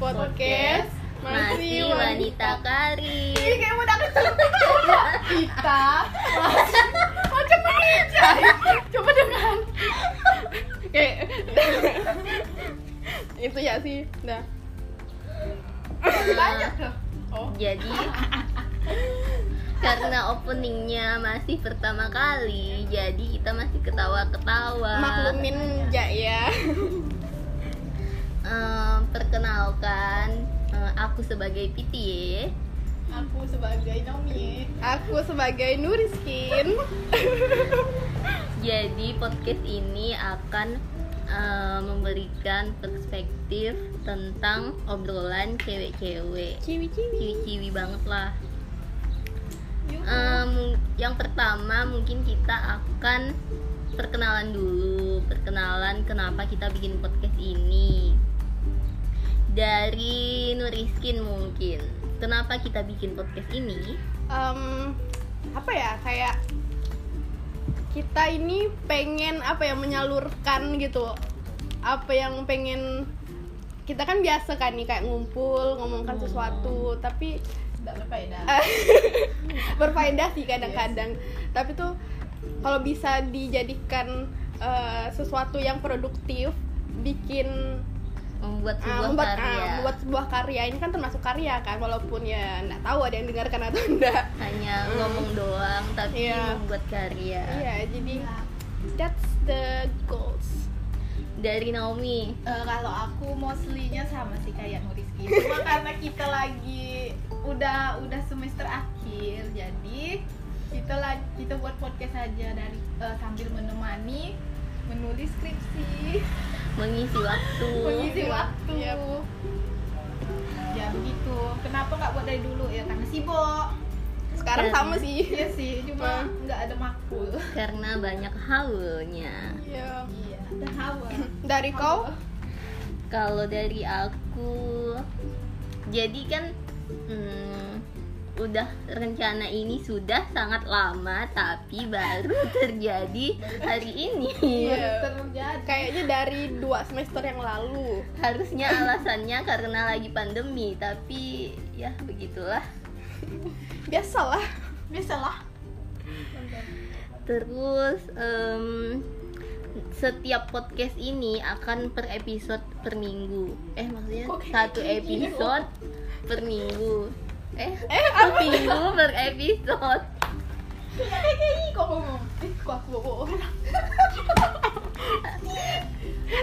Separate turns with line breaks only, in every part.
podcast
Masih wanita
Ih,
karir
kayak udah kecil
Iya.
kita masih macam menginjak coba dengan kayak itu ya sih dah banyak loh oh
Jadi karena openingnya masih pertama kali, jadi kita masih ketawa-ketawa.
Eh, maklumin ya ya
Eh, perkenalkan eh, aku sebagai Piti.
Aku sebagai Nomi
aku sebagai Nuriskin
Jadi podcast ini akan eh, memberikan perspektif tentang obrolan cewek-cewek.
ciwi-ciwi
Ciwi-ciwi banget lah. Eh, mung- yang pertama mungkin kita akan perkenalan dulu perkenalan kenapa kita bikin podcast ini dari Nuriskin mungkin kenapa kita bikin podcast ini
Em, apa ya kayak kita ini pengen apa ya menyalurkan gitu apa yang pengen kita kan biasa kan nih kayak ngumpul ngomongkan
Hmm.
sesuatu tapi
Tidak berfaedah
berfaedah sih kadang-kadang tapi tuh kalau bisa dijadikan eh, sesuatu yang produktif bikin eh,
membuat sebuah
membuat eh,
karya
membuat sebuah karya ini kan termasuk karya kan walaupun ya nggak tahu ada yang dengarkan atau enggak
hanya ngomong doang tapi
Iya.
membuat karya
Iya, jadi that's the goals.
dari Naomi
Eh, Kalau aku mostly-nya sama sih kayak Nuriski Cuma karena kita lagi udah udah semester akhir Jadi kita lagi kita buat podcast aja dari eh, sambil menemani menulis skripsi
mengisi waktu
mengisi waktu
Yap.
ya begitu kenapa nggak buat dari dulu ya karena sibuk
Sekarang
Dan-
sama sih.
iya sih cuma nggak ada makul
karena banyak haulnya
Iya.
iya dan hawa
Dari kau?
Kalau dari aku, jadi kan hmm, udah rencana ini sudah sangat lama, tapi baru terjadi hari ini.
Iya.
terjadi
Kayaknya dari dua semester yang lalu.
Harusnya alasannya karena lagi pandemi, tapi ya begitulah.
Biasalah.
biasalah
Terus em, setiap podcast ini akan per episode per minggu. Eh maksudnya
Kok kayak
satu
gini?
episode per minggu. Eh, per minggu per episode.
Hei, kok ngomong? Eh, kok aku bohong?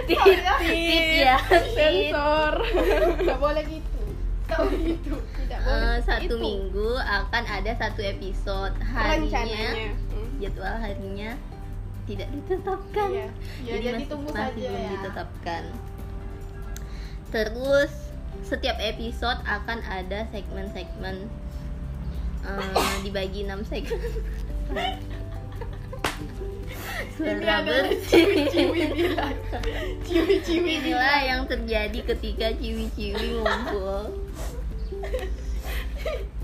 Tit, tit ya. Tit.
Iya. Sensor.
Gak boleh gitu Gak boleh gitu
Tidak boleh.
Eh, satu
Itu
minggu akan ada satu episode harinya
Iya.
rencananya. Hmm.
jadwal harinya tidak ditetapkan
Iya.
Ya, jadi
masih-
tunggu
masih
saja
belum
ya.
ditetapkan terus setiap episode akan ada segmen-segmen eh, dibagi enam segmen
Ini
suara
adalah
bersih
ciwi-ciwi bilang. Ciwi-ciwi bilang.
Inilah yang terjadi ketika ciwi-ciwi ngumpul.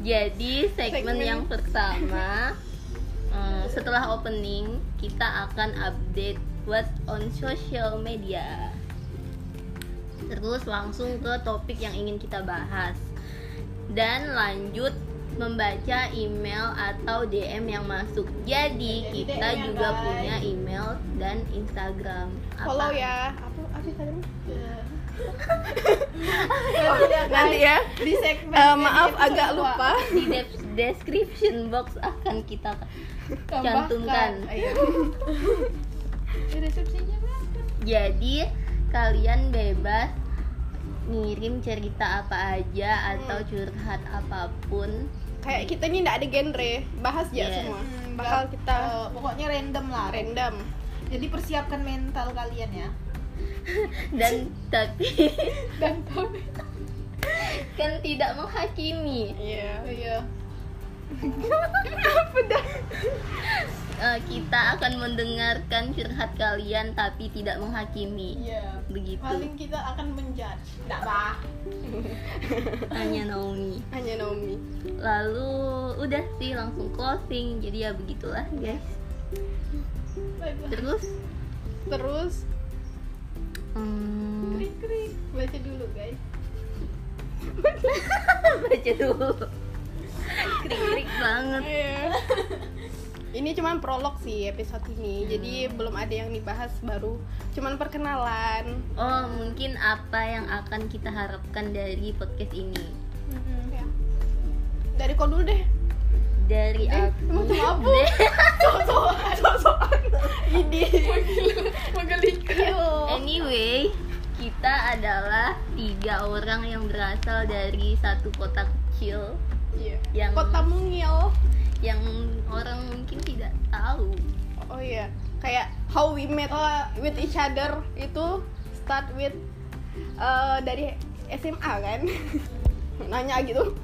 Jadi segmen
Segmen.
yang pertama eh, setelah opening kita akan update what's on social media. Terus langsung ke topik yang ingin kita bahas dan lanjut membaca email atau DM yang masuk. Jadi
Jadi
kita
DM ya,
juga
guys.
punya email dan Instagram.
Follow
Apa?
ya. Apa apa sih tadi?
Ya. Nanti ya,
Nanti ya.
Di segmen
Eh,
jadi
maaf
episode
agak
dua.
lupa.
di de- description box akan kita
Tambahkan.
cantumkan.
Ayo. Iya. Ini resepsinya berapa?
jadi kalian bebas ngirim cerita apa aja atau
Hmm.
curhat apapun
Kayak kita ini nggak ada genre, bahas ya
Yes.
semua.
Hmm,
Bakal
gak-
kita
eh, Pokoknya random lah
random.
Jadi persiapkan mental kalian ya
dan tapi
Dan tahu
kan tidak menghakimi
Iya.
Iya
Eh, kita akan mendengarkan curhat kalian tapi tidak menghakimi
Iya
Gitu.
begitu
Paling kita akan menjudge Tidak bah
hanya Naomi
Hanya Naomi.
lalu udah sih langsung closing jadi ya begitulah guys
Baiklah
terus
Terus
hmm,
Krik krik Baca dulu guys
baca dulu krik-krik banget
Iya. Ini cuman prolog sih episode ini, jadi belum ada yang dibahas baru, cuman perkenalan.
oh mungkin apa yang akan kita harapkan dari podcast ini
Ya. Dari kau dulu deh.
dari
Eh,
aku
emang cuma apa?
deh
Sok-sokan, sok-sokan. Ini.
menggelikan
Anyway, kita adalah tiga orang yang berasal dari satu kota kecil
Iya.
Yang-
Kota mungil.
yang orang mungkin tidak tahu.
Oh iya, kayak how we met with each other itu start with eh, dari SMA kan? Nanya gitu.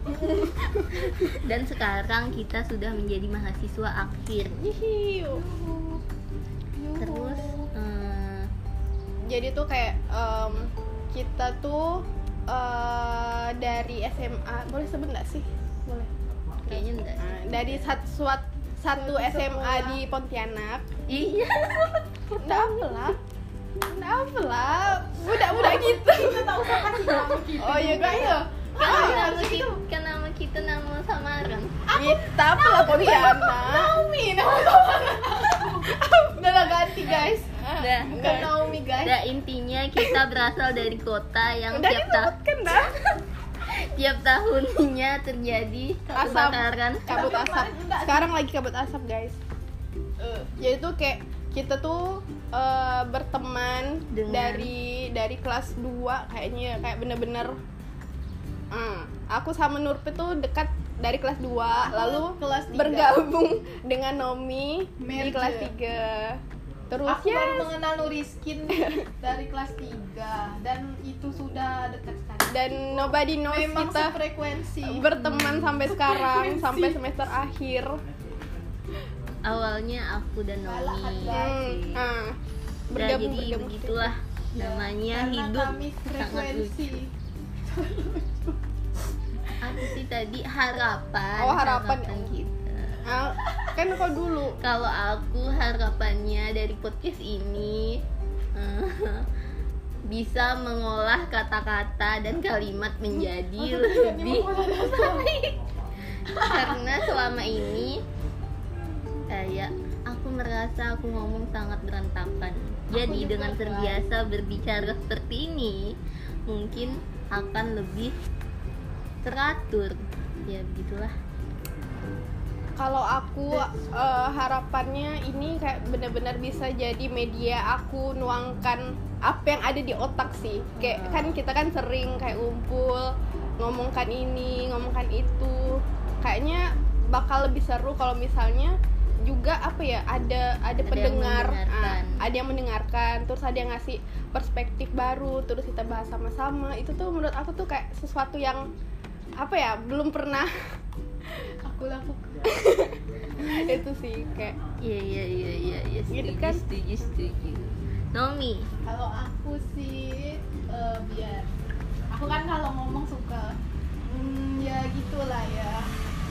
Dan sekarang kita sudah menjadi mahasiswa akhir.
Yihiu.
Terus eh,
Jadi tuh kayak em, kita tuh eh, dari SMA boleh sebut nggak sih? Boleh.
kayaknya enggak. sih.
Nah, dari sat- suat- satu SMA di Pontianak. Nah,
Iya.
Enggak apa lah. Enggak apa lah. Budak-budak gitu.
tahu gitu. sama kita sama kita
Oh iya kan ya.
Kan
Ah,
nama kita, kan nama kita nama samaran.
Kita pula Pontianak.
Naomi Naomi
Udah lah ganti guys.
Udah.
Bukan Naomi guys.
Nah, intinya kita berasal dari kota yang
Udah
tiap ta-
disebutkan dah.
tiap tahunnya terjadi
Asap.
kebakaran.
Kabut
Tapi
asap.
kemarin enggak sih.
Sekarang lagi kabut asap guys.
Eh,
Jadi tuh kayak kita tuh eh, berteman
Dengan-
dari dari kelas 2 kayaknya ya, kayak bener-bener Hmm, aku sama Nurpe tuh dekat dari kelas 2 lalu
kelas tiga.
bergabung dengan Nomi di
Merger.
kelas 3 terus ya?
aku baru
yes,
mengenal Nuriskin dari kelas 3 dan itu sudah dekat sekali
dan nobody knows
memang
kita
sefrekuensi
berteman sampai sekarang sampai semester akhir
Awalnya aku dan
Balak
Nomi.
hati.
Hmm, ah.
Nah,
bergabung
jadi
bergabung
begitulah
Iya,
namanya
Karena
hidup
kami
sangat lucu.
frekuensi
Apa sih tadi harapan?
Oh, harapan.
kita.
Ah, kan kau dulu
Kalau aku harapannya dari podcast ini eh, bisa mengolah kata-kata dan kalimat menjadi lebih baik. Karena selama ini kayak aku merasa aku ngomong sangat berantakan. Jadi
juga
dengan
kan.
terbiasa berbicara seperti ini, mungkin akan lebih teratur. Ya begitulah.
kalau aku eh, harapannya ini kayak benar-benar bisa jadi media aku nuangkan apa yang ada di otak sih kayak
Hmm.
kan kita kan sering kayak ngumpul ngomongkan ini ngomongkan itu kayaknya bakal lebih seru kalau misalnya juga apa ya ada ada,
yang
pendengar
mendengarkan.
Ah, ada yang mendengarkan terus ada yang ngasih perspektif baru terus kita bahas sama-sama itu tuh menurut aku tuh kayak sesuatu yang apa ya belum pernah
aku lakukan
itu sih kayak
Iya iya iya iya iya.
Gitu
Setuju,
kan?
setuju setuju. Nomi,
kalau aku sih eh, biar aku kan kalau ngomong suka hmm, ya gitulah ya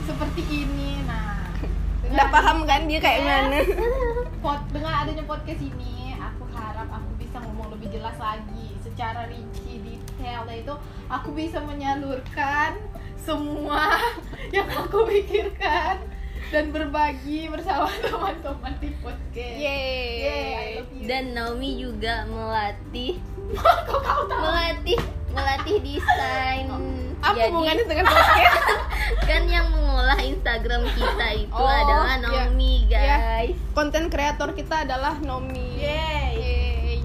seperti ini nah dengan
Udah paham kan dia kayak
Yes.
mana?
pod, dengan adanya podcast ini aku harap aku bisa ngomong lebih jelas lagi secara rinci detail yaitu aku bisa menyalurkan semua yang aku pikirkan dan berbagi bersama teman-teman di podcast. Yeay, I
Yeay.
love you.
dan Naomi juga melatih
kok kau tahu?
melatih melatih desain
Apa
Jadi,
hubungannya dengan podcast?
kan yang mengolah Instagram kita itu
Oh,
adalah
iya.
Naomi
Iya.
guys
Konten kreator kita adalah Nomi.
Yeay.
Yeay.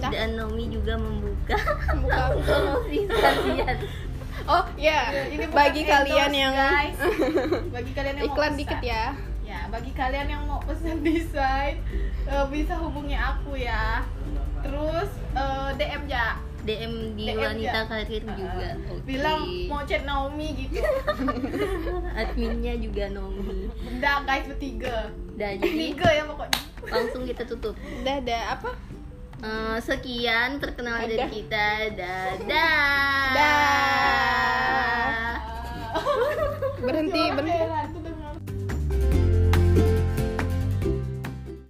Dah,
dan Naomi juga membuka
buka.
promosi kalian
Oh, ya.
Ini bukan
Bagi
endorse,
kalian yang
guys. bagi kalian yang mau
iklan
pesan.
dikit ya.
Ya, bagi kalian yang mau pesan desain eh, bisa hubungi aku ya. Terus eh, DM ya.
DM di
DM
wanita
ya.
karir juga Oke.
ah. Bilang mau chat Naomi gitu.
adminnya juga Naomi
Benda guys bertiga.
dan jadi
Tiga ya pokoknya.
langsung kita tutup
Dadah apa?
Eh, sekian perkenalan dari
Dadah.
kita dadah
Dah.
Ah.
Berhenti,
Jorok
Oh. berhenti.
ya,